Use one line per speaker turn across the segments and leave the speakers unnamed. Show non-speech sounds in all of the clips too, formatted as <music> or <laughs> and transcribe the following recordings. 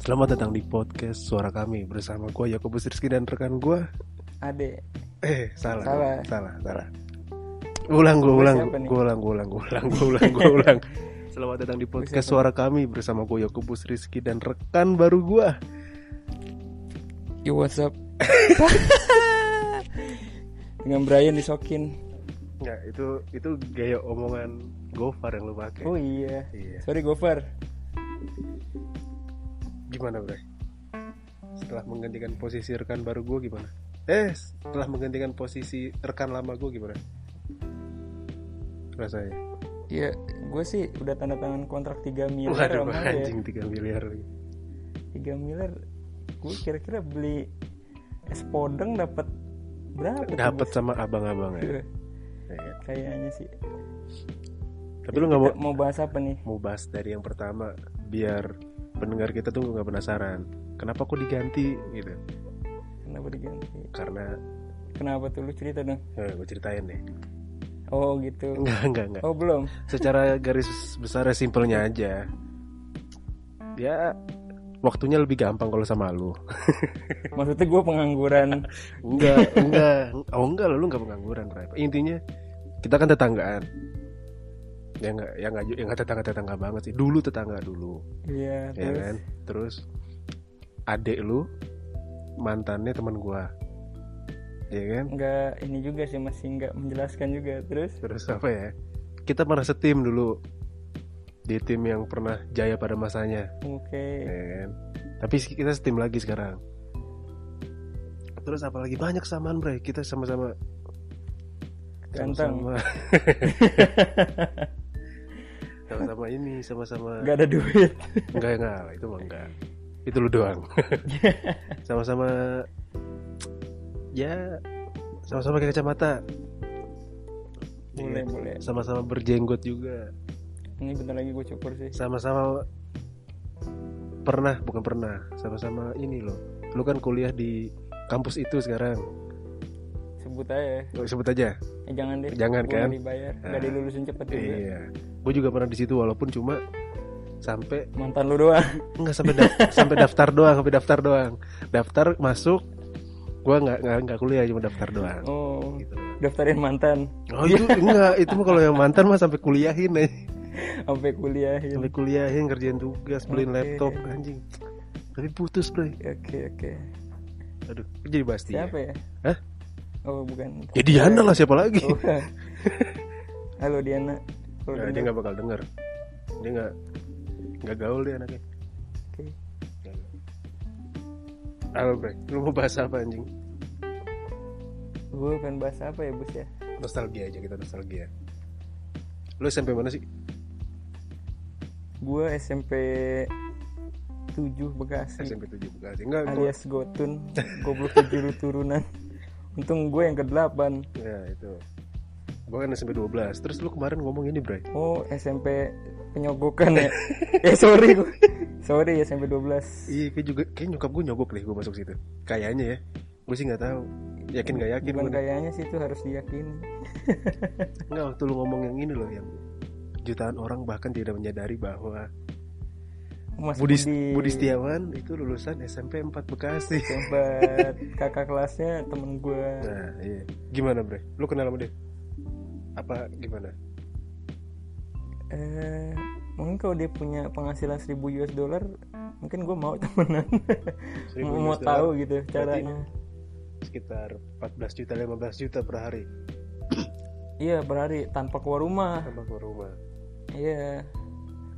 Selamat datang di podcast suara kami bersama gue Yakobus Rizky dan rekan gue.
Ade.
Eh salah,
Salah.
salah, salah. Ulang gue ulang,
Siapa nih?
gue ulang, gue ulang, gue ulang, gue ulang,
<laughs>
gue ulang. Selamat datang di podcast
siapa?
suara kami bersama gue Yakobus Rizky dan rekan baru gue.
Yo what's up? <laughs> Dengan Brian disokin.
Ya itu itu gaya omongan Gofar yang lu pakai.
Oh iya.
Iya.
Sorry Gofar.
Gimana Bray? Setelah menggantikan posisi rekan baru gue gimana? Eh setelah menggantikan posisi rekan lama gue gimana? Rasanya.
Iya, gue sih udah tanda tangan kontrak 3 miliar
Waduh
sama dia.
anjing 3 miliar lagi.
3 miliar. Gue kira-kira beli es podeng dapat berapa? tuh,
Dapat
Bos?
sama abang-abang ya.
Iya,
Iya.
Kayaknya sih.
Tapi lu nggak mau
Kita mau bahas apa nih?
mau bahas dari yang pertama biar pendengar kita tuh nggak penasaran. Kenapa kok diganti gitu?
Kenapa diganti?
Karena
Kenapa tuh lu cerita dong?
eh, gue ceritain deh.
Oh gitu.
Enggak enggak enggak.
Oh belum.
Secara garis besarnya simpelnya aja. Ya waktunya lebih gampang kalau sama lu.
Maksudnya gue pengangguran.
<laughs> Enggak, enggak. Oh enggak lah, lu enggak pengangguran, Ray. Intinya kita kan tetanggaan. Ya enggak, ya enggak, ya enggak tetangga-tetangga banget sih. Dulu tetangga dulu,
Iya.
ya
terus?
kan? Terus adek lu mantannya teman gua. Ya kan?
nggak ini juga sih masih nggak menjelaskan juga terus
Terus apa ya? Kita pernah setim dulu. Di tim yang pernah jaya pada masanya.
oke
ya kan? Tapi se- kita setim lagi sekarang. Terus apalagi banyak kesamaan, Bray. Kita sama-sama
ganteng
sama-sama sama-sama ini, sama-sama
nggak ada duit
enggak enggak lah, itu mah enggak. Itu lu
<laughs>
doang. sama-sama ya sama-sama pakai kacamata. <laughs> Iya.
boleh boleh
Sama-sama berjenggot juga.
ini bentar lagi gue cukur sih
sama-sama pernah bukan pernah sama-sama ini loh lu kan kuliah di kampus itu sekarang
sebut aja ya.
Nggak sebut aja
eh, jangan deh
Jangan,
Gua
kan?
nggak dibayar
Ah.
nggak dilulusin cepet juga
iya gue juga pernah di situ walaupun cuma sampai
mantan lu
<laughs>
doang
nggak sampai daf- sampai daftar doang sampai daftar doang daftar masuk gue nggak nggak nggak kuliah cuma daftar doang
oh
gitu
daftarin mantan
oh itu
Iya.
enggak itu mah kalau yang mantan mah sampai kuliahin aja
sampai ya. kuliahin oke
sampai kuliahin kerjain tugas beliin
Iya. Oke.
laptop anjing tapi putus bro
oke
aduh jadi pasti
siapa ya
Iya. Hah?
oh
<laughs>
bukan
Ya Diana lah siapa lagi?
Oh.
<laughs>
halo Diana Kalau
Nah, dia
dengar,
nggak bakal denger. Dia nggak nggak gaul dia anaknya.
oke.
Apa bre? Lu mau bahas apa anjing?
gue pengen bahas apa ya bus ya
Nostalgia aja kita nostalgia. Lu SMP mana sih?
gue SMP 7 Bekasi
SMP 7 Bekasi. Enggak, gua-
alias
<laughs>
Gotun goblok kejuru turunan untung gue yang ke 8
Ya, itu. Gua kan SMP 12. Terus lu kemarin ngomong ini, Bray.
oh SMP penyogokan
<laughs>
ya eh sorry gue sorry SMP 12
Iya, kayak juga kayak nyokap gue nyogok deh gue masuk situ. Kayaknya ya. Gue sih nggak tahu. Yakin nggak yakin
bukan
gue. deh.
kayaknya sih itu harus diyakini
Enggak, waktu lu ngomong yang ini loh yang jutaan orang bahkan tidak menyadari bahwa
Mas
Budi,
Budi,
Budi Setiawan itu lulusan SMP 4 Bekasi. <laughs>
Tempat kakak kelasnya temen gue
Nah, iya. Gimana, Bre? Lu kenal sama dia? Apa gimana?
eh, mungkin kalau dia punya penghasilan 1000 US dollar mungkin gue mau
<laughs>
temenan
1000
mau
US dollar.
tahu gitu caranya
Sekitar 14 juta 15 juta per hari
iya per hari tanpa keluar rumah
sama ke rumah.
iya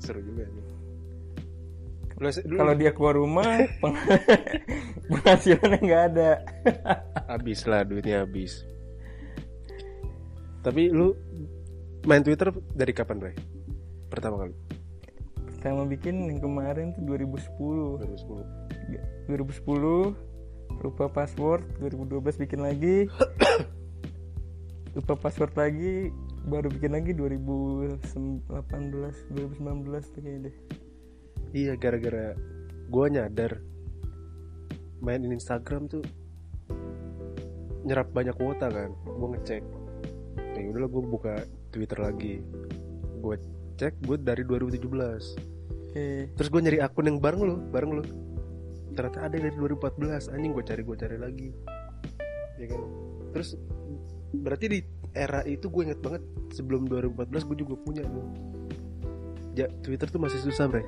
Seru juga nih. Lu, lu
kalau dia keluar
<laughs>
rumah peng- <laughs> penghasilannya nggak ada <laughs>
habis lah duitnya habis. Tapi lu main Twitter dari kapan, Bre? Pertama kali
pertama bikin yang kemarin tuh 2010
2010.
2010 lupa password 2012 bikin lagi
<coughs>
lupa password lagi baru bikin lagi 2018 2019 tuh kayaknya deh
Iya, gara-gara gua nyadar mainin Instagram tuh nyerap banyak kuota kan. Gua ngecek. Ya udahlah gua buka Twitter lagi. Gua cek gua dari 2017.
oke
Terus gua nyari akun yang bareng lu, bareng lu. ternyata ada dari 2014 anjing gue cari gue cari lagi ya kan terus berarti di era itu gue inget banget sebelum 2014 gue juga punya tuh ja, Twitter tuh masih susah bre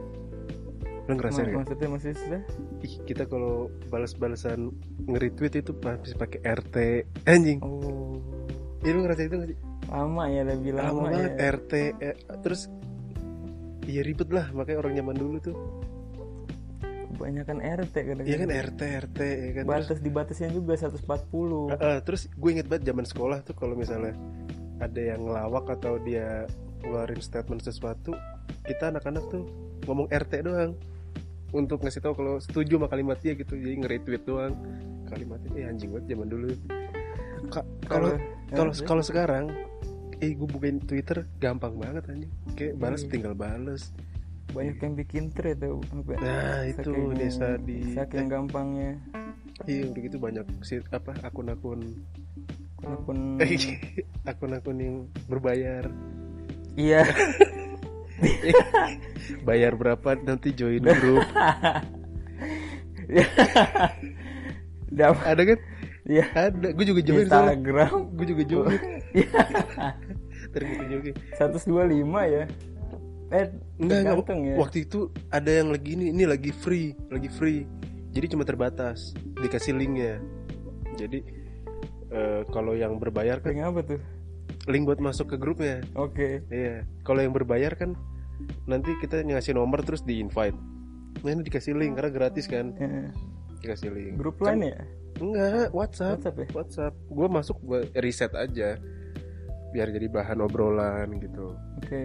lo ngerasain gak?
Ma- maksudnya masih susah
Ih, kita kalau balas-balasan nge-retweet itu masih pakai RT anjing
oh
ya, lu ngerasain itu gak sih?
lama ya lebih
lama
lama,
banget
ya
RT eh, terus ya ribet lah makanya orang zaman dulu tuh
kebanyakan RT kadang
Iya kan RT RT ya kan terus
batas dibatasnya juga 140
Heeh, terus gue inget banget zaman sekolah tuh kalau misalnya ada yang ngelawak atau dia ngeluarin statement sesuatu, kita anak-anak tuh ngomong RT doang untuk ngasih tahu kalau setuju sama kalimat dia gitu. Jadi nge-retweet doang kalimatnya. Eh anjing banget zaman dulu. Ka- Kalau kalau
RT,
kalau sekarang eh gue bukain Twitter gampang banget anjing. Kayak balas
Iya.
tinggal balas.
banyak yang bikin thread tuh apa
Nah, itu
Saking-
desa di-
saking gampangnya
Iya udah gitu banyak si apa akun-akun <laughs>
akun
Hmm. Iya. akun-akun yang berbayar.
iya
<laughs> bayar berapa nanti join grup
<laughs> dapat
ada kan
ya
ada gue juga join soalnya
Instagram Oh.
gue juga <laughs> join terus join
125 ya eh
enggak enggak
tergantung ya
waktu itu ada yang lagi ini ini lagi free lagi free jadi cuma terbatas dikasih linknya jadi eh, kalau yang berbayar kan
Ring apa tuh
link buat masuk ke grupnya
oke
iya kalau yang berbayar kan nanti kita ngasih nomor terus di invite nah ini dikasih link karena gratis kan
Eh,
dikasih link
grup
Kan-
lain ya
enggak WhatsApp
WhatsApp ya
WhatsApp. Gue masuk buat riset aja biar jadi bahan obrolan gitu.
oke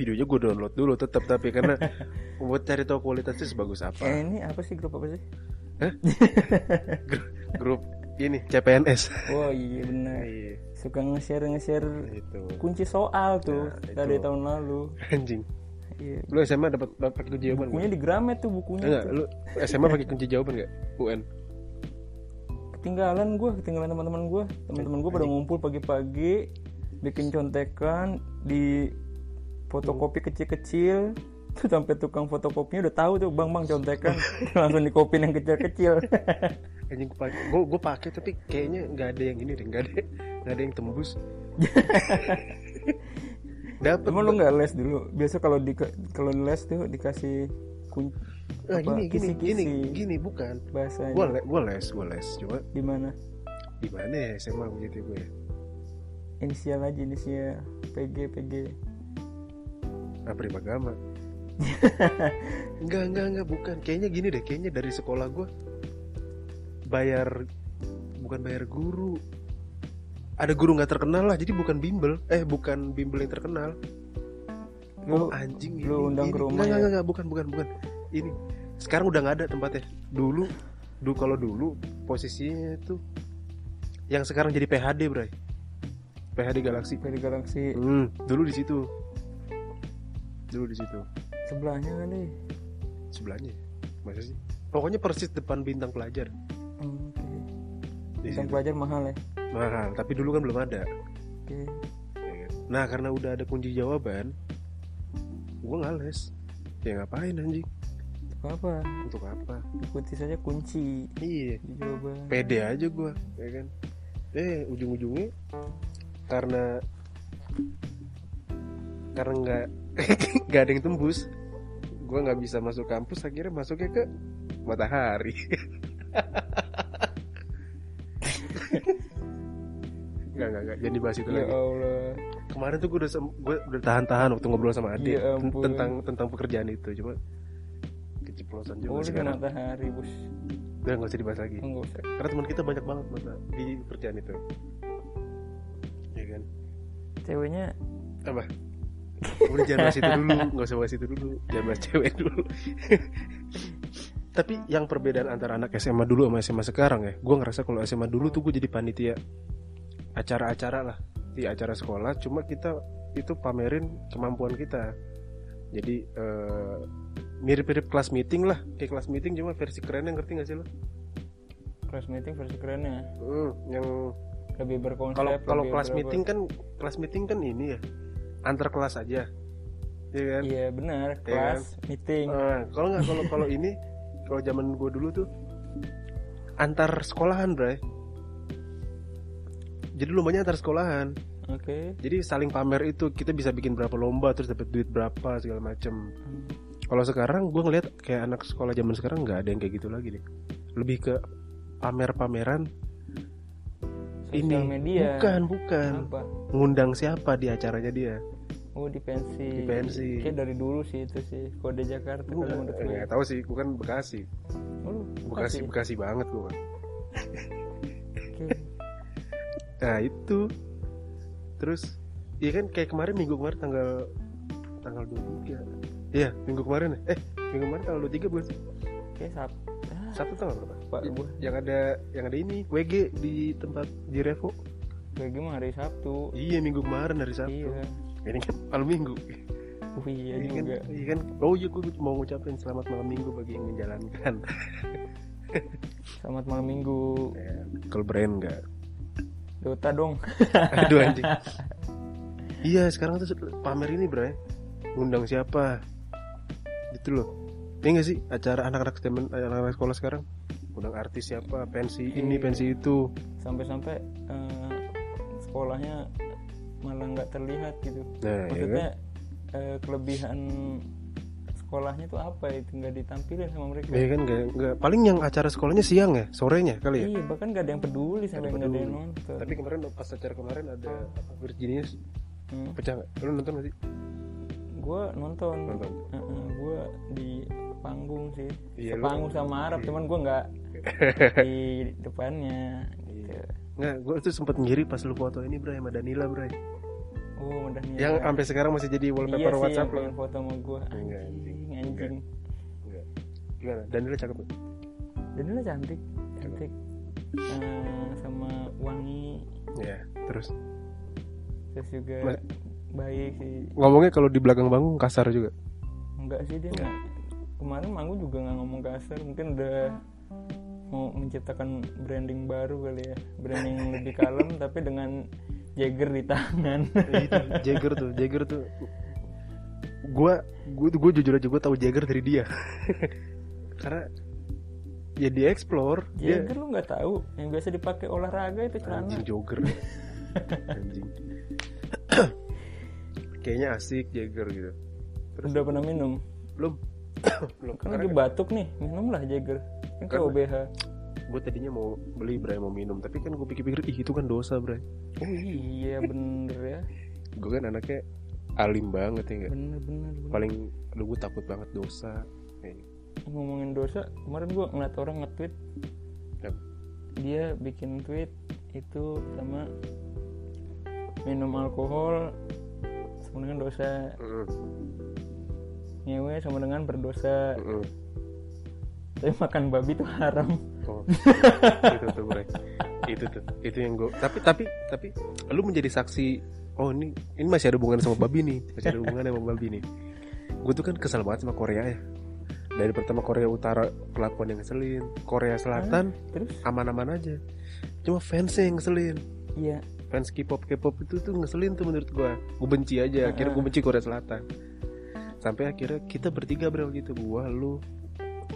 Videonya gue download dulu tetap tapi karena
<laughs>
buat cari tahu kualitasnya sebagus
eh
apa.
ini apa sih grup apa sih
Gru- Grup ini CPNS.
oh iya benar
Iya,
suka nge-share nge-share
itu.
kunci soal tuh
Nah,
dari
itu.
tahun lalu
Anjing.
iya
Lu SMA dapat dapat kunci jawaban
bukunya
nggak?
di Gramet tuh bukunya
Enggak,
tuh.
lu SMA pakai kunci jawaban enggak? UN.
ketinggalan gue ketinggalan teman-teman gue teman-teman gue pada ngumpul pagi-pagi bikin contekan di fotokopi kecil-kecil tuh sampai tukang fotokopinya udah tahu tuh bang bang
<laughs>
contekan langsung dikopin yang kecil-kecil
Anjing gue pakai. Gue gue pakai tapi kayaknya nggak ada yang ini deh, nggak ada nggak ada yang
<laughs>
tembus. Dapat.
emang lu nggak les dulu biasa kalau di kalau di les tuh dikasih kun
Nah,
apa,
gini, gini, gini,
kisi-kisi
gini, bukan. Gue
bahasanya
les, gue les, gue les. Cuma
di mana
di mana ya SMA begitu gue?
inisial aja inisial PG PG
Nah, Prima
<laughs>
Gama. enggak, enggak, enggak, bukan. Kayaknya gini deh, kayaknya dari sekolah gue bayar bukan bayar guru. Ada guru nggak terkenal lah, jadi bukan bimbel. Eh, bukan bimbel yang terkenal. Oh,
lu
Anjing
lu undang ke
Enggak,
rumah ya?
enggak, enggak, bukan, bukan, bukan. Ini sekarang udah nggak ada tempatnya. Dulu, dulu kalau dulu posisinya itu yang sekarang jadi PHD, Bray. PHD Galaxy.
dari galaksi
Hmm, dulu di situ. Dulu di situ.
sebelahnya kan, kali
Sebelahnya. Masa sih? Pokoknya persis depan bintang pelajar.
Hmm, oke.
Di
Bintang
situ.
pelajar mahal ya.
Mahal, tapi dulu kan belum ada.
Oke.
Ya kan? Nah, karena udah ada kunci jawaban, gua ngales. Ya ngapain anjing?
Gak apa?
Untuk apa?
Ikuti saja kunci
Iya.
di jawaban.
pede aja gua ya kan eh ujung-ujungnya karena karena nggak <laughs> nggak ada yang tembus gua nggak bisa masuk kampus akhirnya masuknya ke matahari <laughs> nggak nggak nggak jadi bahas itu
Ya
lagi
Allah.
kemarin tuh gue udah sem- gua udah tahan-tahan waktu ngobrol sama Adi
Ya
ten-
ampun.
tentang tentang pekerjaan itu cuma keceplosan juga
Oh, di
sekarang
matahari, Bos.
udah nggak usah dibahas lagi
Enggak usah.
karena teman kita banyak banget mata di kerjaan itu ya kan
Ceweknya
apa udah jangan bahas itu dulu nggak usah bahas itu dulu jangan bahas cewek dulu <laughs> tapi yang perbedaan antara anak SMA dulu sama SMA sekarang ya gue ngerasa kalau SMA dulu tuh gue jadi panitia acara-acara lah di acara sekolah cuma kita itu pamerin kemampuan kita jadi eh, mirip-mirip kelas meeting lah kayak kelas meeting cuma versi keren yang ngerti gak sih lo
kelas meeting versi kerennya
Hmm, yang
lebih berkonsep.
kalau kalau
lebih
kelas
berapa.
meeting kan kelas meeting kan ini ya antar kelas aja ya kan
Iya, benar.
kan? Nah,
Kelas meeting.
Eh, kalau nggak kalau kalau ini kalau zaman gue dulu tuh antar sekolahan bray jadi lombanya antar sekolahan
oke
jadi saling pamer itu kita bisa bikin berapa lomba terus dapat duit berapa segala macem kalau sekarang gue ngeliat kayak anak sekolah zaman sekarang nggak ada yang kayak gitu lagi deh lebih ke pamer-pameran ini
sosial media
bukan bukan
apa
ngundang siapa di acaranya dia
oh di pensi
Di pensi.
kayak dari dulu sih itu sih kode Jakarta
gue
kalau menurut gue
nggak tahu sih gue kan bekasi
oh,
bekasi
Bekasi.
bekasi banget gue
Oke.
nah itu terus iya kan kayak kemarin minggu kemarin tanggal tanggal 23 iya minggu kemarin ya eh minggu kemarin tanggal 23 bukan sih?
oke sap ah,
Sabtu tanggal berapa
pak
Ya,
gue
yang ada yang ada ini WG di tempat di Revo
gue gimana hari Sabtu
iya minggu kemarin hari Sabtu
iya
ini kan malam minggu
oh iya
Iya kan,
juga
iya kan? Oh iya, gue mau ngucapin selamat malam minggu bagi yang menjalankan.
selamat malam minggu
Eh, Kalau brand nggak?
Dota dong
Aduh anjing. iya sekarang tuh pamer ini bray. Undang siapa? Gitu loh. Iya nggak sih acara anak-anak temen, anak-anak sekolah sekarang? Undang artis siapa? Pensi ini,
Iya.
pensi itu.
sampai-sampai eh, sekolahnya malah nggak terlihat gitu
Nah, iya kan?
maksudnya eh, kelebihan sekolahnya tuh apa itu nggak ditampilin sama mereka
Iya kan nggak nggak paling yang acara sekolahnya siang ya, sorenya kali ya.
iya bahkan nggak ada yang peduli sampai nggak ada yang nonton
Tapi kemarin pas acara kemarin ada apa, Virginia
hmm.
pecah nggak? Lu nonton nggak sih?
gue nonton,
Nonton.
gue di panggung sih
Iya, lu-
panggung sama Arab cuman gue
<laughs>
nggak di depannya gitu
Iya. Nggak, gue tuh sempet ngiri pas lu foto ini Bray sama Danila Bray
oh udah nih
Yang sampai sekarang masih jadi
iya
wallpaper
sih
WhatsApp
yang
lo
pengen foto sama gue
Enggak,
anjing
anjing.
anjing
Nggak. Gimana? Danila cakep nggak?
dan dia cantik cantik Eh, sama wangi
Iya Terus
terus juga
Mas-
baik sih
Ngomongnya kalau di belakang panggung kasar juga
enggak sih dia enggak. kemarin manggung juga nggak ngomong kasar mungkin udah mau menciptakan branding baru kali ya branding yang lebih kalem tapi dengan Jagger di tangan
Eh, Itu Jagger tuh Jagger tuh Gue Gue gue jujur aja gue tahu Jagger dari dia <laughs> Karena Ya di explore Dia
Jagger lu nggak tahu yang biasa dipakai olahraga itu celana
Iya. Anjing jogger Anjing <coughs> Kayaknya asik Jagger gitu
udah pernah minum
Belum <coughs> Belum
kan lagi batuk nih minumlah Jagger kan ke OBH
gue tadinya mau beli bray mau minum tapi kan gue pikir-pikir ih itu kan dosa bray
oh iya bener ya
gue kan anaknya alim banget ya nggak
bener bener, bener.
paling lu gue takut banget dosa Kayak, gitu.
ngomongin dosa kemarin gua ngeliat orang nge-tweet
Yap.
dia bikin tweet itu pertama minum alkohol sama dengan dosa
"Mm-mm,
nyewe sama dengan berdosa
mm-mm."
tapi makan babi itu haram
Oh, itu tuh bray itu tuh itu yang gue tapi tapi tapi lu menjadi saksi oh ini ini masih ada hubungan sama babi nih masih ada hubungan sama babi nih gue tuh kan kesel banget sama Korea ya dari pertama Korea Utara kelakuan yang ngeselin Korea Selatan
terus
aman-aman aja cuma fansnya yang ngeselin
ya
fans K-pop K-pop itu tuh ngeselin tuh menurut gua. Gua benci aja. Akhirnya gua benci Korea Selatan. Sampai akhirnya kita bertiga bro gitu. Gua, lu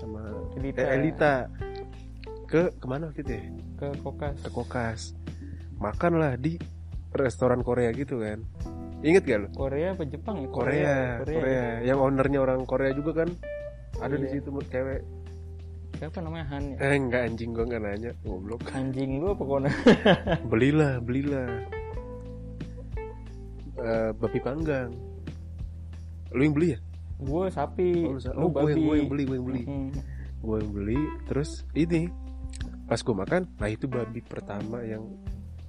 sama
Elita.
eh, Elita. Ke kemana waktu itu ya?
ke kokas
Ke Kokas. Makanlah di restoran Korea gitu kan. Ingat gak lu?
Korea apa Jepang ya?
Korea, Korea,
Korea.
Yang ownernya orang Korea juga kan. Ada di
Iya.
situ cewek.
siapa namanya Han ya?
Eh enggak anjing gua enggak nanya. Goblok. <laughs>
anjing lu apa kona
belilah, belilah. Eh, babi panggang. Lu yang beli ya?
gue sapi
Oh, lu sa- oh,
lu
gua yang-
Iya. babi Mm-hmm.
gua yang beli, gua yang beli.
Mm-mm.
gue beli terus ini pas gue makan nah itu babi pertama yang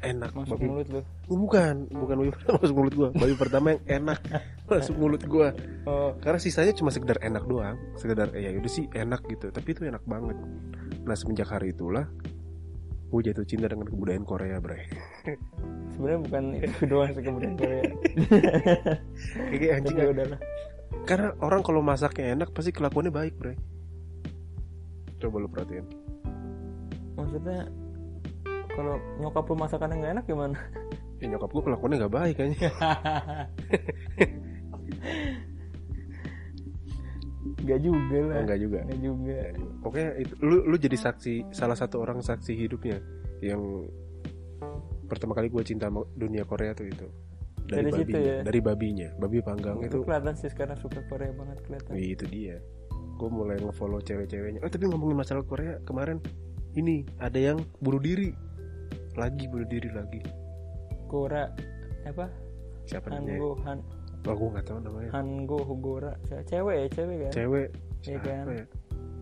enak
masuk
babi
mulut lu
Oh, bukan bukan babi <laughs> pertama masuk mulut gue babi pertama yang enak masuk mulut gue
oh
karena sisanya cuma sekedar enak doang sekedar eh, ya udah sih enak gitu tapi itu enak banget nah semenjak hari itulah gue jatuh cinta dengan kebudayaan Korea bre <laughs>
sebenarnya bukan itu <laughs> doang sih kemudian Korea
kayak Iya, anjing
tapi udahlah
karena orang kalau masaknya enak pasti kelakuannya baik bre coba lu perhatiin
maksudnya kalau nyokap lu masakannya nggak enak
<laughs>
gimana
ya nyokap gue kelakuannya nggak baik kayaknya
Gak juga lah.
Oh, enggak juga.
Nggak juga.
Pokoknya itu, lu lu jadi saksi salah satu orang saksi hidupnya yang pertama kali gue cinta sama dunia Korea tuh itu dari,
Dari situ
babinya,
ya?
dari babinya, babi panggang
Itu
itu. Iya.
kelihatan sih sekarang suka Korea banget kelihatan.
Wih, itu dia. Gue mulai ngefollow cewek-ceweknya. Oh tapi ngomongin masalah Korea kemarin ini ada yang bunuh diri lagi bunuh diri lagi.
Gora apa?
Siapa namanya?
Hango Han
Oh, gue nggak tahu namanya.
Hango Gora. Cewek ya cewek kan?
Cewek.
Iya
Siapa
kan?
ya?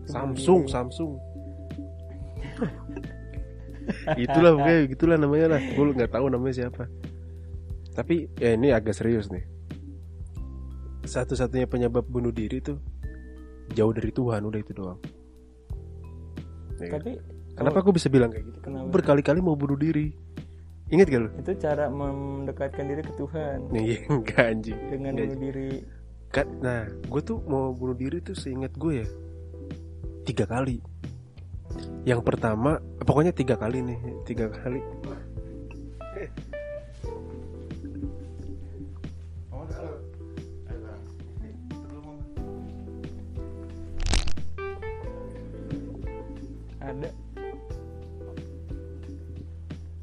Samsung,
diri. <laughs>
Samsung. itulah pokoknya gitulah namanya lah. Gue nggak tahu namanya siapa. Tapi ya ini agak serius nih. Satu-satunya penyebab bunuh diri tuh jauh dari Tuhan udah itu doang. Ya kan?
Tapi
Kenapa aku bisa bilang kayak gitu? Karena
Kenapa?
aku berkali-kali mau bunuh diri. Ingat gak lu?
itu cara mendekatkan diri ke Tuhan
Nih, <laughs> enggak anjing.
dengan
Nggak.
bunuh diri.
Kan, nah, gue tuh mau bunuh diri tuh seingat gue ya tiga kali. Yang pertama, pokoknya tiga kali nih, tiga kali.
Ada.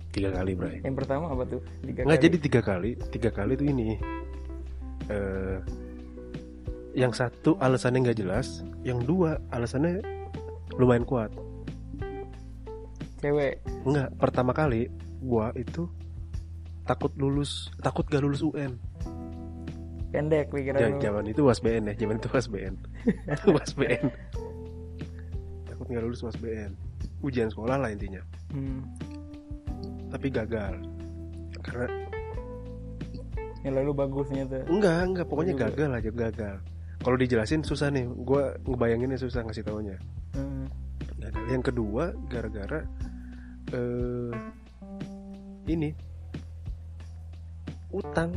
Tiga kali, Bray.
Yang pertama apa tuh? Tiga
Nggak
kali.
jadi tiga kali, tiga kali tuh ini. eh yang satu alasannya nggak jelas, yang dua alasannya lumayan kuat.
cewek.
Enggak, pertama kali gua itu takut lulus, takut gak lulus UN.
Pendek pikiran
Jangan
lu.
zaman itu WASBN ya, zaman itu WASBN. Itu WASBN. takut gak lulus WASBN. Ujian sekolah lah intinya,
Hmm.
tapi gagal. Karena
Yang lalu bagusnya tuh.
enggak, enggak pokoknya
Juga.
gagal aja gagal. Kalau dijelasin susah nih, gua ngebayanginnya susah ngasih taunya.
Hmm.
Gagal. Yang kedua gara-gara eh ini utang.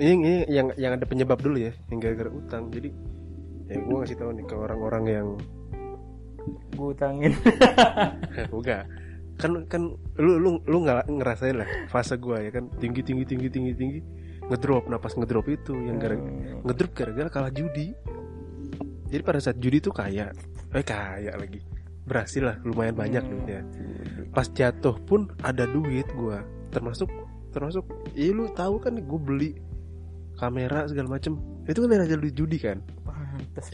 Ini, ini yang yang ada penyebab dulu ya, yang gara-gara utang. Jadi ya gue ngasih tahu nih ke orang-orang yang
Gue utangin.
Eh, enggak kan kan lu lu lu nggak ngerasain lah fase gua ya kan tinggi tinggi tinggi tinggi tinggi ngedrop napas ngedrop itu yang gara
Hmm.
ngedrop gara-gara kalah judi jadi pada saat judi tuh kaya eh kaya lagi berhasil lah lumayan banyak
Hmm.
duitnya pas jatuh pun ada duit gua termasuk termasuk ya lu tahu kan gue beli kamera segala macem itu kan dari hasil duit judi kan
Pantes.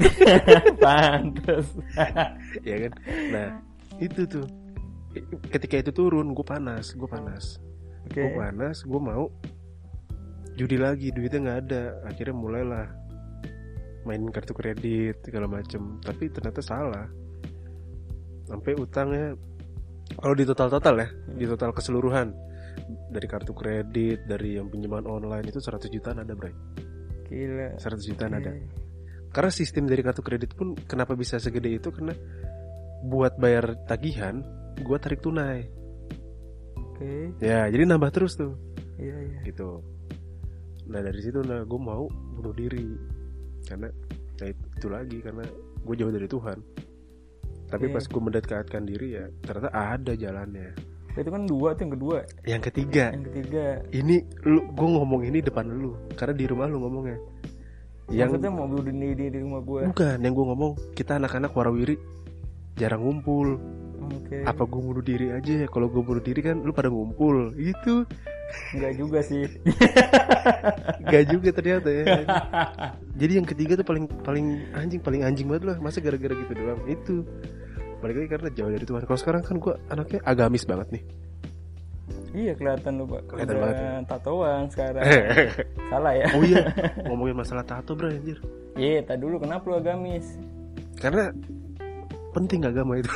<laughs>
Pantes.
ya kan nah itu tuh ketika itu turun gue panas gue panas
Oke.
gue Oh, panas gue mau judi lagi duitnya nggak ada akhirnya mulailah main kartu kredit segala macem tapi ternyata salah sampai utangnya kalau di total total ya di total keseluruhan dari kartu kredit dari yang pinjaman online itu 100 jutaan ada bray
Gila.
100 jutaan ada karena sistem dari kartu kredit pun kenapa bisa segede itu karena buat bayar tagihan gua tarik tunai
Oke.
ya jadi nambah terus tuh
Iya iya.
gitu nah dari situ nah gue mau bunuh diri karena ya itu, itu lagi karena gue jauh dari Tuhan tapi
Oke.
pas gue mendekatkan diri ya ternyata ada jalannya
Itu kan dua tuh yang kedua.
yang ketiga
Yang ketiga.
ini lu gue ngomong ini depan lu karena di rumah lu ngomongnya yang
Maksudnya mau bunuh diri di, di rumah gue.
bukan yang gue ngomong kita anak-anak warawiri jarang ngumpul
Oke.
apa gue bunuh diri aja ya? kalau gue bunuh diri kan lu pada ngumpul gitu
Enggak juga sih. <laughs>
gak juga ternyata ya jadi yang ketiga tuh paling paling anjing paling anjing banget lah masa gara-gara gitu doang itu balik lagi karena jauh dari Tuhan kalau sekarang kan gue anaknya agamis banget nih
iya kelihatan lu pak.
Kelihatan
Udah
banget
Tatoan
<laughs>
sekarang. Salah ya.
oh iya ngomongin masalah tato bro anjir
Iya, tak dulu kenapa lu agamis?
karena penting agama itu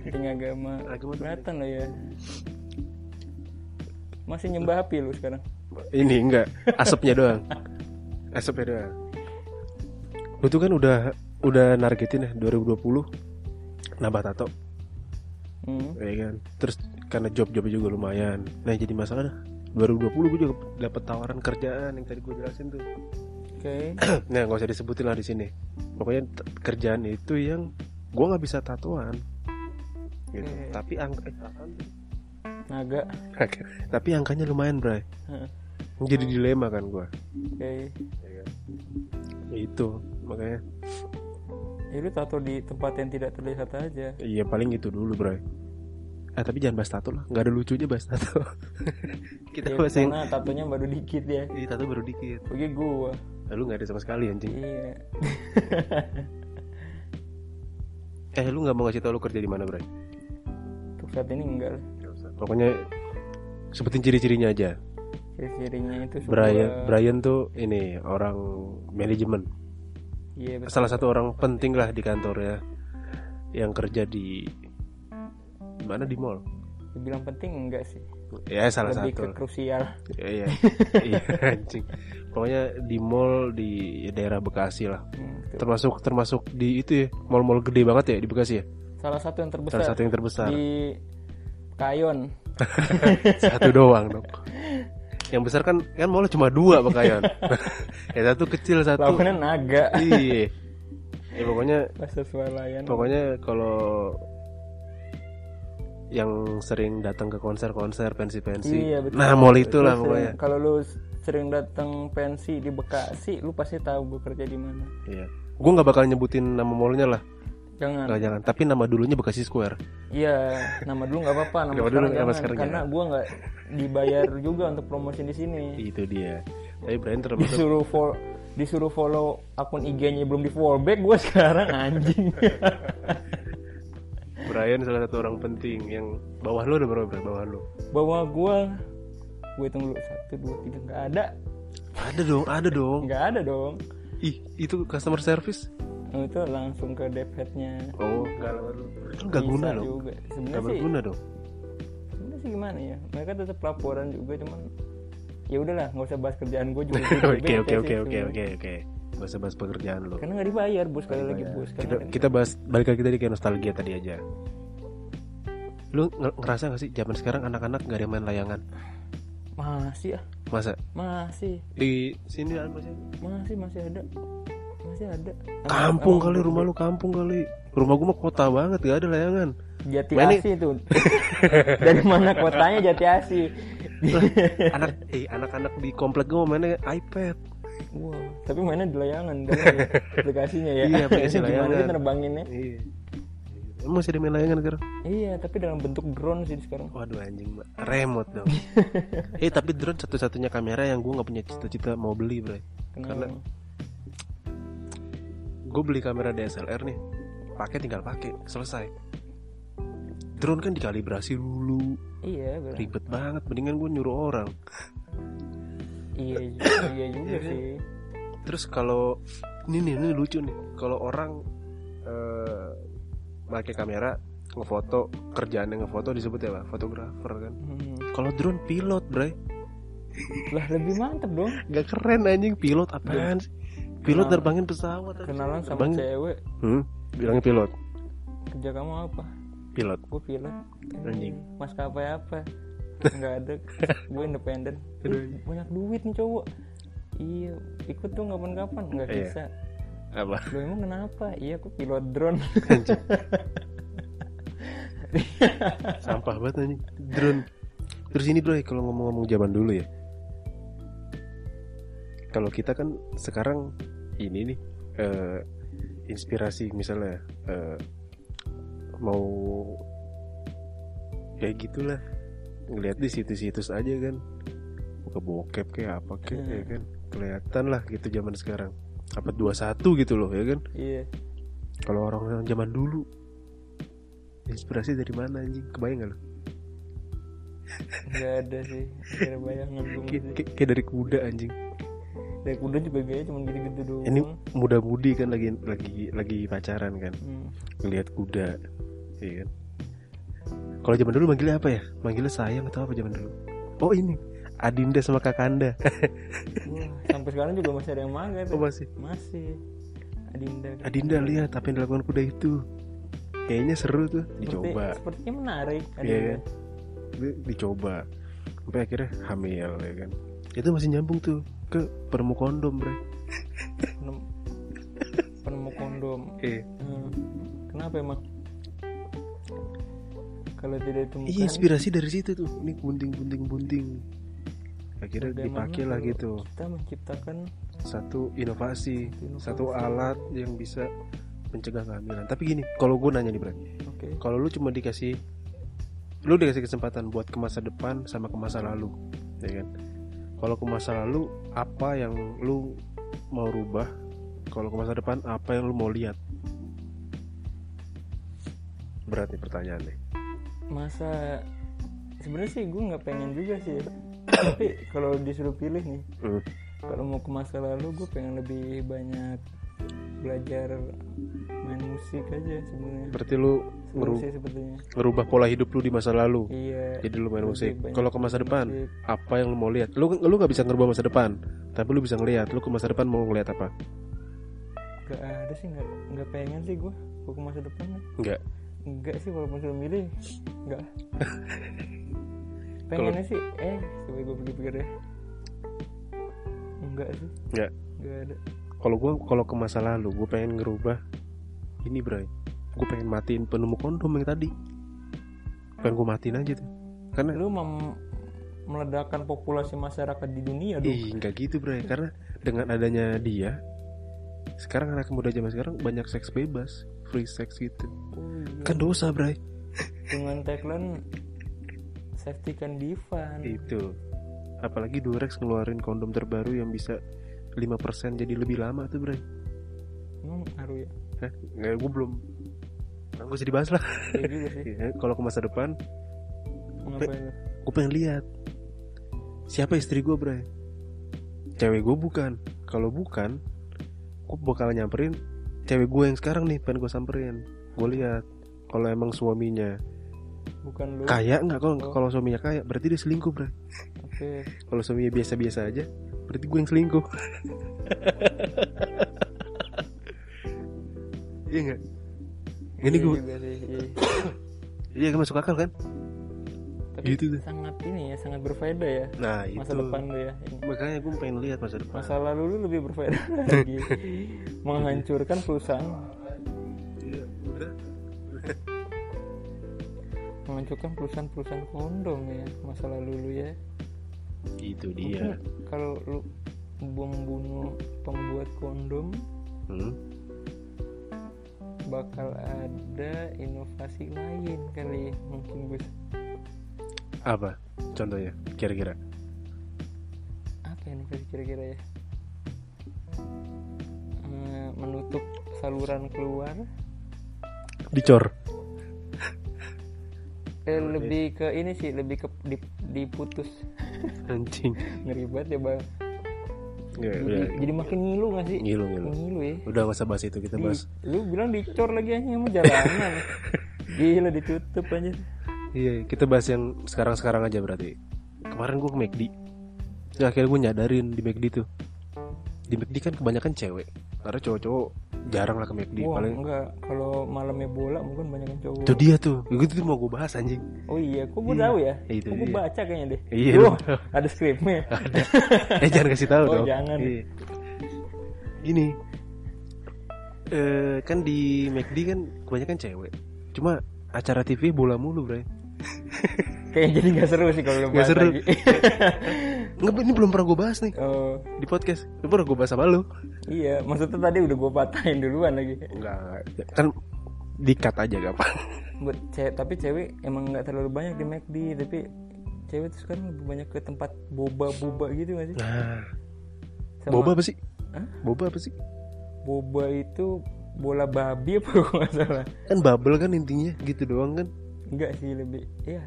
Penting agama.
Agama tuh
Kelihatan lo ya. Masih nyembah api lu sekarang.
ini enggak asapnya doang asapnya doang lu tuh kan udah udah nargetin ya 2020 nambah tato
Hmm.
ya kan terus karena job-jobnya juga lumayan nah jadi masalah 2020 gue juga dapat tawaran kerjaan yang tadi gue jelasin tuh <clears throat>
Oke.
nah nggak usah disebutin lah di sini pokoknya t- kerjaan itu yang gue nggak bisa tatoan gitu
Oke.
tapi angka eh, apaan tuh?
Naga.
tapi angkanya lumayan bray
Hah,
jadi dilema kan gue
Oke.
itu makanya
ya lu tato di tempat yang tidak terlihat aja
Iya paling itu dulu bro. Ah tapi jangan bahas tato lah, nggak ada lucunya bahas tato. <laughs> Kita
ya,
bahas yang
karena tatonya baru dikit ya
Ih, tato baru dikit.
bagi gua
Lalu nggak ada sama sekali anjing.
iya <laughs>
Eh lu nggak mau ngasih tau lu kerja di mana bro?
untuk saat ini enggak lah
Pokoknya sebutin ciri-cirinya aja.
ciri-cirinya itu sebuah-
Brian Brian tuh ini orang manajemen.
iya betul.
Salah satu orang penting lah di kantor ya yang kerja di di mana di mall.
dibilang penting enggak sih
Ya salah
lebih
satu.
ke krusial
Iya, iya, anjing. Pokoknya di mall di daerah Bekasi lah.
Hmm, gitu.
Termasuk termasuk di itu ya, mall-mall gede banget ya di Bekasi ya.
salah satu yang terbesar
Salah satu yang terbesar.
di Kayon
Satu doang dong. Yang besar kan kan mall cuma dua
<laughs>
Bakayon. ya satu kecil satu.
lawannya naga <laughs>
Iya. Ya pokoknya
pas sesuai layan
pokoknya kalau yang sering datang ke konser-konser pensi-pensi.
Iya, betul.
nah, mall itulah
Lu
pokoknya.
sering- kalau lu sering datang pensi di Bekasi lu pasti tahu gue kerja di mana
Iya. Gue nggak bakal nyebutin nama mallnya lah,
jangan
nggak jangan. Tapi nama dulunya Bekasi Square.
Iya, nama dulu nggak apa-apa, nama,
Nama dulu
sekarang
nggak apa
jangan,
sekarang
karena gue nggak dibayar juga untuk promosi di sini.
Itu dia. Tapi Brian
<laughs>
termasuk
Disuruh follow, disuruh follow akun IG-nya belum di follow back, gue sekarang anjing.
Brian salah satu orang penting yang bawah lu ada berapa Brian? Bawah lu?
Bahwa gue, gue hitung dulu satu dua tiga nggak ada,
Ada dong, ada dong.
nggak ada dong.
Ih, itu customer service.
Nah, itu langsung ke dev head-nya.
Oh, enggak lu. Itu enggak
Bisa
guna loh.
Juga.
Enggak
Sebenarnya sih,
berguna
<laughs>
dong.
sebenarnya sih gimana ya? Mereka tetap laporan juga, cuman ya udahlah, nggak usah bahas kerjaan gue juga.
<laughs> Oke, oke,
Bete
oke,
sih Kan
oke,
sebenarnya.
oke, oke. Bahasa bahas pekerjaan lo.
Karena nggak dibayar bos sekali lagi bos. Karena
Kita, kita bahas balik lagi tadi kayak nostalgia tadi aja. Lu nge- ngerasa gak sih zaman sekarang anak-anak gak ada yang main layangan?
masih ah
Masa?
masih
Di sini kan masih
masih masih ada masih ada
kampung kali rumah lu kampung kali. Rumah gua mah kota banget gak ada layangan.
Jati
Mainnya-
Asih itu <laughs> dari mana kotanya Jati Asih <laughs>
Lah, anak eh anak-anak di komplek gue mainnya iPad.
wow tapi mainnya di layangan dalam ya, aplikasinya ya
Iya, aplikasi
<laughs> gimana
layangan.
sih nerbanginnya
Iya. Emang masih ada main layangan sekarang?
iya tapi dalam bentuk drone sih sekarang
Waduh anjing, Mbak. remote dong. eh tapi drone satu-satunya kamera yang gue nggak punya cita-cita mau beli, Bro.
kenapa
Gue beli kamera DSLR nih. Pakai tinggal pakai, selesai. Drone kan dikalibrasi dulu,
iya bener.
ribet banget. Mendingan gue nyuruh orang.
iya juga, iya juga sih
Terus kalau ini nih, ini lucu nih. Kalau orang eh pakai kamera ngefoto, kerjaannya ngefoto disebut ya, Pak, fotografer kan.
Hmm.
Kalau drone pilot, Bray.
lah lebih mantep dong
Gak keren anjing pilot apaan sih? Pilot
Kenalan.
terbangin pesawat. anjing.
kenalan sama
Terbangin-
cewek
Hmm, bilangnya pilot.
kerja kamu apa
Pilot.
gue pilot
Anjing.
mas kapai
<laughs>
apa nggak ada gue independen Ih, banyak duit nih cowok iya ikut dong kapan-kapan nggak
Iya.
bisa
Apa?
lo emang kenapa iya aku pilot
<laughs>
drone
Anjing. Sampah banget anjing. Drone. Terus ini bro, ya, kalau ngomong-ngomong zaman dulu ya. Kalau kita kan sekarang ini nih eh, inspirasi misalnya eh, mau ya gitulah ngelihat di situs-situs aja kan buka bokep kayak apa kayak ya kan kelihatan lah gitu zaman sekarang apa 21 gitu loh ya kan
iya
kalau orang zaman dulu inspirasi dari mana anjing kebayang gak lo
nggak ada sih nggak ada bayangan gue
Kay-
masih.
kayak kayak dari kuda anjing Hmm.
dari kuda juga gaya cuman gitu-gitu doang
ini muda-mudi kan lagi lagi lagi pacaran kan
Hmm.
ngelihat kuda iya kan kalau zaman dulu manggilnya apa ya manggilnya sayang atau apa zaman dulu oh ini Adinda sama Kakanda
Wah, sampai sekarang juga masih ada yang mager
<laughs> oh masih
masih Adinda
Adinda lihat apa yang dilakukan kuda itu kayaknya seru tuh
Seperti-
dicoba
sepertinya menarik
Iya
Adinda.
kan? Di- dicoba sampai akhirnya hamil ya kan itu masih nyambung tuh ke penemu kondom bre
Penem- penemu kondom
eh,
Hmm. Kenapa emang? Kalau tidak ditemukan
iya inspirasi dari situ tuh ini bunting bunting bunting akhirnya
bagaimana
dipakai lah
kalau
gitu
Kita menciptakan
satu inovasi
Inovasi.
satu alat yang bisa mencegah kehamilan tapi gini kalau gue nanya nih Brad
oke
kalau lu cuma dikasih lu dikasih kesempatan buat ke masa depan sama ke masa lalu ya kan kalau ke masa lalu apa yang lu mau rubah kalau ke masa depan apa yang lu mau lihat berat nih pertanyaannya
masa sebenarnya sih gue nggak pengen juga sih ya. <coughs> tapi kalau disuruh pilih nih
Hmm.
kalau mau ke masa lalu gue pengen lebih banyak belajar main musik aja sebenarnya
berarti lu
seru
ngeru-
sih sebetulnya
ngerubah pola hidup lu di masa lalu
iya
jadi lu main
lebih
musik
banyak
kalau ke masa
main
depan
musik.
apa yang lu mau lihat lu lu nggak bisa ngerubah masa depan tapi lu bisa ngelihat lu ke masa depan mau ngelihat apa
nggak ada sih nggak nggak pengen sih gue gue ke masa depan ya.
enggak
enggak sih walaupun sudah milih
<laughs>
enggak pengennya sih eh coba gue pikir-pikir ya enggak sih
enggak
enggak ada
kalau gue kalau ke masa lalu gue pengen ngerubah ini bro gue pengen matiin penemu kondom yang tadi pengen gue matiin aja tuh karena
lu mem- meledakkan populasi masyarakat di dunia dong
ih nggak gitu bro karena dengan adanya dia sekarang anak muda zaman sekarang banyak seks bebas free sex gitu
Oh iya.
kan dosa bro
dengan tagline safety can be fun
itu apalagi Durex ngeluarin kondom terbaru yang bisa 5% jadi lebih lama tuh bro
emang ngaruh ya
Hah? nggak gue belum nggak Nah, usah dibahas lah
iya juga
<laughs>
sih
Ya, kalau ke masa depan
ngapain lu?
gue pengen lihat siapa istri gue bro cewek gue bukan kalau bukan gue bakal nyamperin cewek gue yang sekarang nih pengen gue samperin gue lihat kalau emang suaminya
bukan lu oke
kaya nggak kalau kalau suaminya kaya berarti dia selingkuh bro kalau suaminya biasa-biasa aja berarti gue yang selingkuh iya nggak ini
Iya
gue
juga sih iya.
iya nggak masuk akal kan
tapi
Gitu tuh.
sangat ini ya sangat berfaedah ya
nah
masa
itu
depan lu ya ini.
makanya gue pengen lihat masa depan
masa lalu lu lebih
<laughs>
berfaedah lagi menghancurkan perusahaan
Iya, udah.
menghancurkan perusahaan-perusahaan kondom ya masa lalu lu ya
itu
Mungkin
dia
kalau lu membunuh pembuat kondom
Hmm.
bakal ada inovasi lain kali ya. mungkin gue
apa contohnya kira-kira
apa inovasi kira-kira ya Eh, menutup saluran keluar
dicor Iya,
eh, lebih ke ini sih lebih ke dip- diputus <laughs>
anjing
ngeri banget ya bang
Nggak,
jadi,
udah
jadi makin ngilu gak sih
Iya, ngilu Iya, ngilu
ngilu ya
udah gak usah bahas itu kita
Di-
bahas
lu bilang dicor lagi aja sama
<laughs>
jalanan gila ditutup aja
iya kita bahas yang sekarang-sekarang aja berarti kemarin gue ke E McD Nah, akhirnya gue nyadarin di McD tuh di McD kan kebanyakan cewek karena cowok-cowok jarang lah ke McD
wah
paling
enggak kalau malamnya bola mungkin banyak yang cowok
itu dia tuh itu tuh mau gue bahas anjing
oh iya kok gue tahu ya
Itu
kok gue
dia.
baca kayaknya deh
Iya,
Wah,
lu-
ada
<laughs>
skripnya
eh jangan kasih tahu
<laughs> Oh,
dong
jangan.
Iya. ini eh, kan di McD kan kebanyakan cewek cuma acara TV bola mulu bre
kayaknya jadi nggak seru sih kalau lu
Nggak
bahas
seru.
lagi <laughs>
Nggak, ini belum pernah gue bahas nih
oh
di podcast. Itu pernah gue bahas sama lu.
iya maksudnya tadi udah gue patahin duluan lagi
Enggak, kan dikat aja gak apa.
buat cewek tapi cewek emang nggak terlalu banyak di McD tapi cewek tuh sekarang lebih banyak ke tempat boba boba gitu nggak sih
Nah,
Sama-
boba apa sih?
Hah?
Boba apa sih?
boba itu bola babi apa <laughs> kalau nggak salah
Kan bubble kan intinya gitu doang kan.
enggak sih lebih ya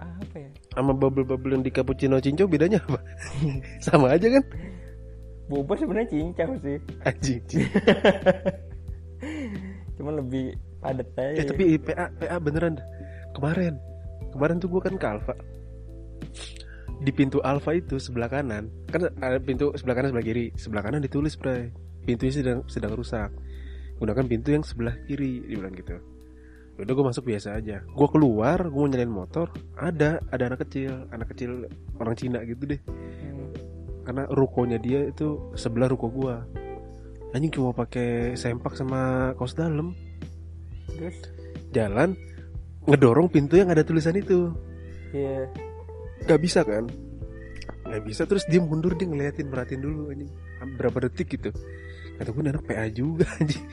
apa ya
Sama bubble-bubble yang di cappuccino cinco bedanya
<laughs>
apa? sama aja kan?
boba sebenarnya cincau sih
Anjing. cinco.
cuman lebih padat aja
eh tapi PA PA beneran dah. Kemarin. Kemarin tuh gue kan ke Alfa. Di pintu Alfa itu sebelah kanan, kan ada pintu sebelah kanan sebelah kiri. Sebelah kanan ditulis, Bray. Pintunya sedang sedang rusak. Gunakan pintu yang sebelah kiri, dibilang gitu. udah gue masuk biasa aja gue keluar gue mau nyalain motor ada ada anak kecil anak kecil orang Cina gitu deh
Hmm.
karena rukonya dia itu sebelah ruko gue anjing cuma pakai sempak sama kaos dalam
terus
jalan ngedorong pintu yang ada tulisan itu
ya
gak bisa kan gak bisa terus dia mundur dia ngeliatin merhatiin dulu anjing berapa detik gitu kata gue anak PA juga <laughs> anjing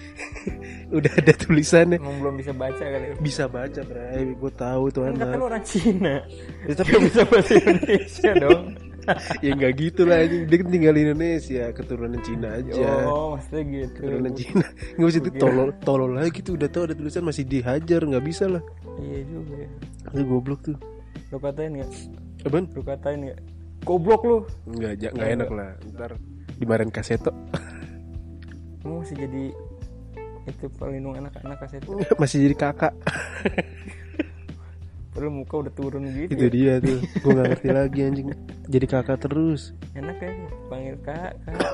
udah ada tulisannya
Emang belum bisa baca kali.
bisa baca bray gue tahu tuh
Kan kata lu
anak
orang Cina.
ya, tapi
Belum bisa bahasa Indonesia dong.
ya nggak gitu lah anjing dia kan tinggal di Indonesia keturunan Cina aja
Oh, maksudnya gitu.
iya. keturunan Cina nggak bisa itu
Gua kira-
tolol tolol lagi gitu udah tahu ada tulisan masih dihajar nggak bisa lah
Iya juga ya.
itu goblok tuh
Lu katain nggak?
Apaan?
Lu katain nggak? Goblok lu.
nggak ja- nggak enak lah ntar dimarahin kaseto
Kamu masih jadi itu pelindung anak-anak kaset.
<laughs> masih jadi kakak
Perlu muka udah turun gitu.
itu dia tuh gue nggak ngerti lagi anjing jadi kakak terus
Enak ya panggil Kak, Kak.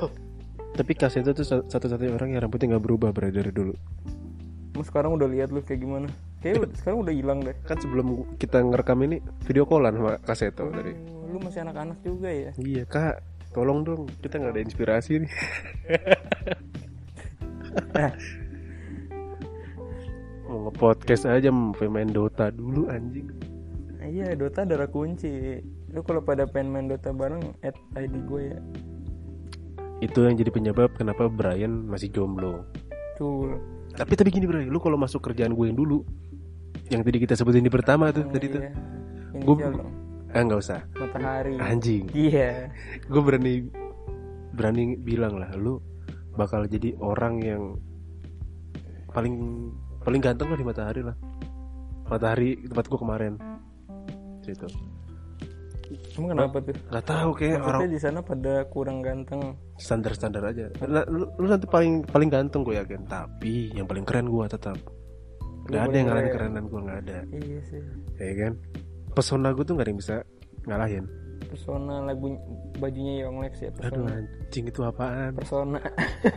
tapi kaseto tuh sa- satu-satunya orang yang rambutnya nggak berubah bray dari dulu
Lu sekarang udah lihat lu kayak gimana?
<laughs>
Kayak sekarang udah hilang deh.
kan sebelum kita ngerekam ini video callan sama kaseto tadi
Oh, Lu masih anak-anak juga ya.
iya kak tolong dong kita nggak ada inspirasi nih mau nge-podcast aja mau main Dota dulu anjing
Nah, Iya, Dota darah kunci. Lu kalau pada pengen main Dota bareng add ID gue ya.
itu yang jadi penyebab kenapa Brian masih jomblo
Tuh.
tapi tapi gini Brian lu kalau masuk kerjaan gue yang dulu yang tadi kita sebutin di pertama tuh tadi tuh
Iya.
Gua-
Inisial dong.
ah nggak usah
Matahari.
anjing
Iya.
gue berani berani bilang lah lu bakal jadi orang yang paling paling ganteng lah di matahari lah matahari tempat gue kemarin gitu
Emang kenapa tuh?
nggak tahu kayak orang
Maksudnya di sana pada kurang ganteng.
standar standar aja Nah, lu, lu nanti paling paling ganteng gue yakin tapi yang paling keren gue tetap
Lu
nggak ada
paling
yang ngalahin
keren.
kerenan gue nggak ada
Iya sih.
ya kan pesona gue tuh nggak ada yang bisa ngalahin
Persona lagu bajunya Young Lex ya
aduh
persona.
anjing itu apaan
Persona.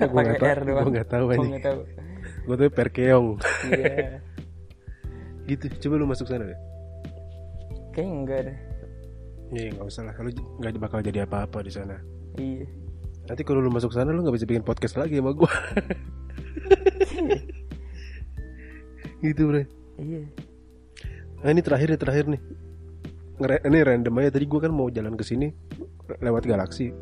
Gua nggak
Pakai
tahu-
R doang.
gua nggak tahu
Gua
anjing.
nggak tahu.
gue tuh perkeong
Iya.
<laughs> gitu coba lu masuk sana deh
Kayaknya enggak deh.
Iya nggak usah lah, lu j- nggak bakal jadi apa-apa di sana.
Iya.
Nanti kalau lu masuk sana lu nggak bisa bikin podcast lagi sama <laughs> gua. gitu bre.
Iya.
Nah ini terakhir nih terakhir nih. Ngere- ini random aja tadi gua kan mau jalan ke sini le- lewat galaksi.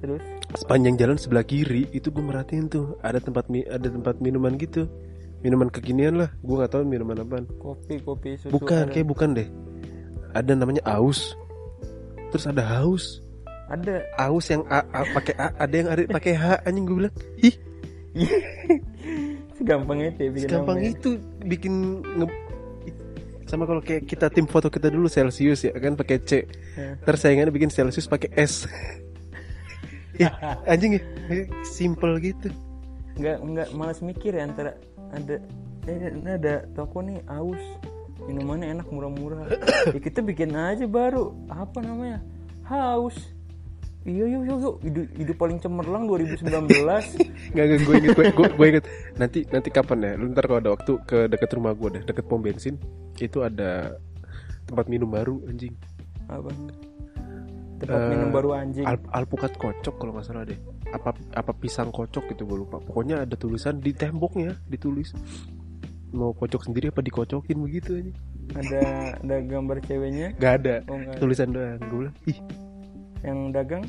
Terus
Sepanjang jalan sebelah kiri itu gua merhatiin tuh ada tempat mi- ada tempat minuman gitu. Minuman kekinian lah, gua nggak tahu minuman apaan.
kopi kopi susu.
Bukan,
ada.
kayak bukan deh. Ada namanya aus. Terus ada haus.
ada.
Aus yang A, A- pakai A, ada yang ada pakai H anjing gue bilang. Ih,
Segampang itu ya bikin
gampang
nama ya.
itu bikin nge- sama kalau kayak kita tim foto kita dulu Celsius ya kan pakai C.
Ya.
Terus saingannya bikin Celsius pakai S. <laughs> ya, anjing ya. Simple gitu.
nggak nggak malas mikir ya antara ada eh, ini ada toko nih aus minumannya enak murah-murah
<coughs>
ya kita bikin aja baru apa namanya haus iya yuk yuk yuk hidup, hidup paling
<laughs>
cemerlang
Nggak,
2019
nggak, gue inget, gue, gue- gue inget. Nanti, nanti kapan ya? Lu ntar kalau ada waktu ke deket rumah gue deh, deket pom bensin. Itu ada tempat minum baru anjing.
apa tempat
Eh,
minum baru anjing
Al- alpukat kocok kalau nggak salah deh apa apa pisang kocok gitu gue lupa pokoknya ada tulisan di temboknya ditulis mau kocok sendiri apa dikocokin begitu aja
ada ada gambar ceweknya
nggak ada
oh enggak ada.
tulisan doang gue bilang ih
yang dagang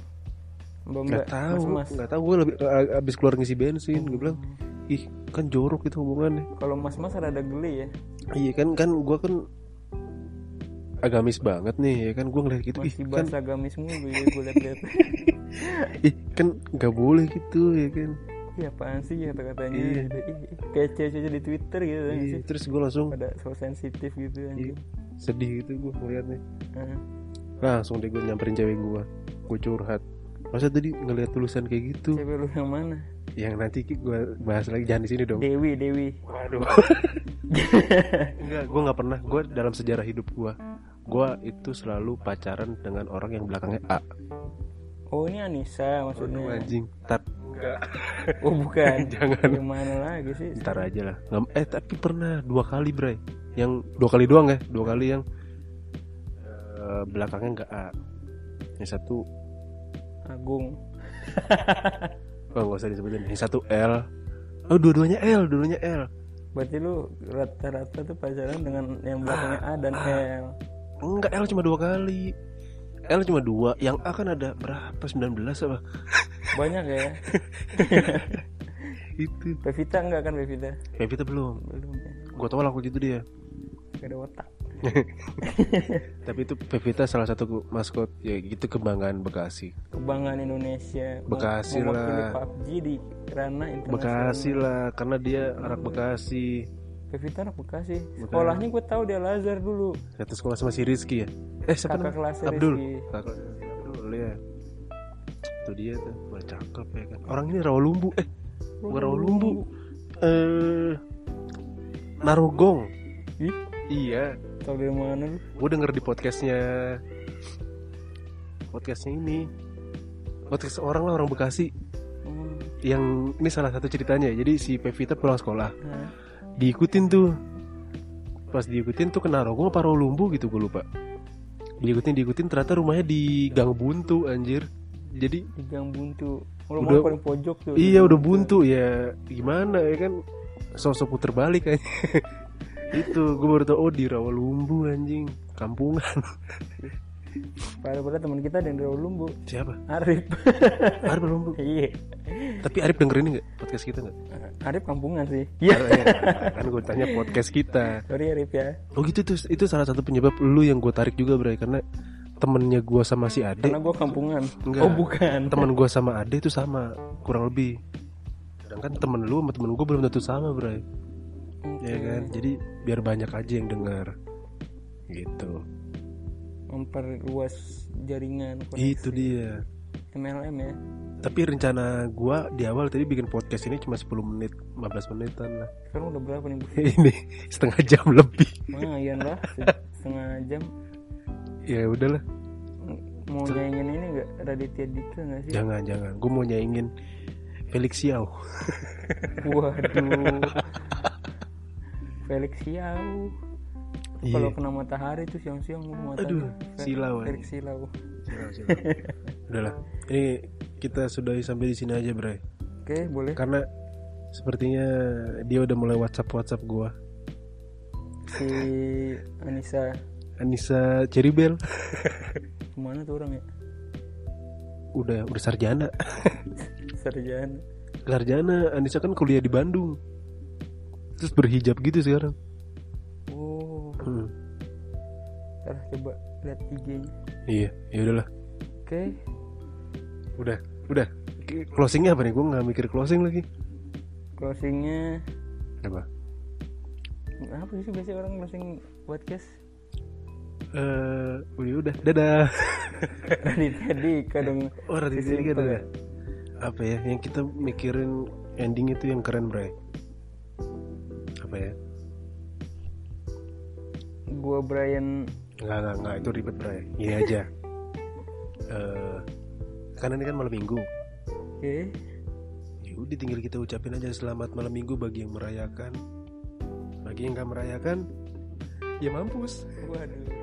mbak mbak
nggak tahu
mas mas
nggak tahu gue lebih eh, abis keluar ngisi bensin gue bilang ih kan jorok itu hubungannya
kalau mas mas ada geli ya
iya kan kan gue kan agamis banget nih ya kan gue ngeliat gitu ih
masih
kan
bahasa agamis mulu ya gue
<laughs>
liat-liat
ih kan nggak boleh gitu ya kan
Iya apaan sih kata-katanya
Iya.
gitu. Ih, ih, Kayak cewek-cewek di Twitter gitu kan
Iya,
sih
terus gue langsung iya,
Pada so sensitif gitu anjing
sedih gitu gue ngeliatnya
Ah,
langsung deh gue nyamperin cewek gue gue curhat masa tadi ngelihat tulisan kayak gitu
Cewek lu yang mana?
yang nanti gue bahas lagi jangan di sini dong
Dewi, Dewi
waduh enggak gue <laughs> nggak pernah gue dalam sejarah hidup gue gue itu selalu pacaran dengan orang yang belakangnya A
Oh ini Anissa maksudnya
anjing Tar,
Oh bukan
<laughs> Jangan.
Yang mana lagi sih
ntar aja lah Nggak- eh tapi pernah dua kali bray yang dua kali doang ya dua kali yang eh, belakangnya nggak A yang satu
Agung
oh, nggak usah disebutin yang satu L oh dua-duanya L dua-duanya L
Berarti lu rata-rata tuh pacaran dengan yang belakangnya A
Ah.
dan L
Enggak, L cuma dua kali. L cuma dua, yang A kan ada berapa? 19 apa?
Banyak ya
itu
Pevita enggak kan Pevita
Pevita belum
belum ya
gue tau lah gitu dia
gak ada otak
tapi itu Pevita salah satu gu- maskot ya gitu kebanggaan Bekasi
kebanggaan Indonesia
Bekasi
Mem- mewakili
lah.
PUBG di ranah internasional
Bekasi lah karena dia anak Bekasi
Pevita anak Bekasi sekolahnya gue tahu dia Lazar dulu
satu sekolah sama si Rizky ya eh siapa
Kakak
namanya?
kelasnya
Abdul
Rizky.
Kakak kelasnya Abdul ya itu dia tuh wah cakep ya kan orang ini Rawalumbu eh bukan Rawalumbu eh Narogong
ih
iya
tau dari mana lu
gue denger di podcastnya podcastnya ini podcast orang lah orang Bekasi
Oh,
yang ini salah satu ceritanya jadi si Pevita pulang sekolah
nah.
diikutin tuh pas diikutin tuh kena rogong apa lumbu gitu gue lupa diikutin diikutin ternyata rumahnya di gang buntu anjir jadi
di gang buntu kalau
Udah-
mau paling pojok tuh
iya udah buntu ya gimana ya kan sosok puter balik aja <laughs> itu gue baru tau oh di Rawalumbu anjing kampungan <laughs>
pada pada teman kita dari Lumbu
siapa
Arif <laughs>
Arif Rawalumbu
iya
tapi Arif dengerin nggak podcast kita nggak
Arif kampungan sih iya
Ya, kan gue tanya podcast kita
sorry Arif ya
Oh gitu tuh, itu salah satu penyebab lu yang gue tarik juga Bray Karena temennya gue sama si Ade
karena gue kampungan
Enggak.
oh bukan
Temen gue sama Ade itu sama, kurang lebih Sedangkan temen lu sama temen gue belum tentu sama Bray Ya kan, jadi biar banyak aja yang denger Gitu
memperluas jaringan
Iya, Itu dia
MLM ya
Tapi rencana gue di awal tadi bikin podcast ini cuma 10 menit 15 menitan lah <laughs>
sekarang udah berapa nih Bu?
Ini setengah jam lebih
lumayan
<laughs>
lah se- setengah jam
Ya udahlah
mau nyanyiin ini nggak Raditya Dika nggak
<laughs>
sih
Jangan, jangan Gue mau nyaingin Felix Yao
<laughs> waduh Felix Siau
Iya.
kalau kena matahari tuh siang-siang lu mata
Aduh,
tuh. Fe-
silau, eh. anjing.
Felix Silau
Udahlah, ini kita sudahi sampai di sini aja, Bray.
oke boleh
Karena sepertinya dia udah mulai WhatsApp WhatsApp gua.
si Anissa
Anissa Ceribel
kemana tuh orang ya
udah udah sarjana.
sarjana
sarjana, Anissa kan kuliah di Bandung. Terus berhijab gitu sekarang.
oh
Hmm,
ntar coba lihat IG-nya
Iya, ya udahlah.
oke
Udah, udah. Oke, Closingnya apa nih? Gua nggak mikir closing lagi.
closingnya
Apa?
apa sih biasanya orang closing podcast
Eh, udah, udah. Dadah.
Raditya Dika dong
<laughs> Oh, Raditya
Sesimpel
Dika,
ya.
dadah. Apa ya? Yang kita mikirin ending itu yang keren, Bray. Apa ya?
gua Brian
Enggak, enggak, enggak, itu ribet bray <laughs> Gini aja Eh, Karena ini kan malam minggu
oke
Ya udah tinggal kita ucapin aja selamat malam minggu bagi yang merayakan Bagi yang gak merayakan Ya mampus
waduh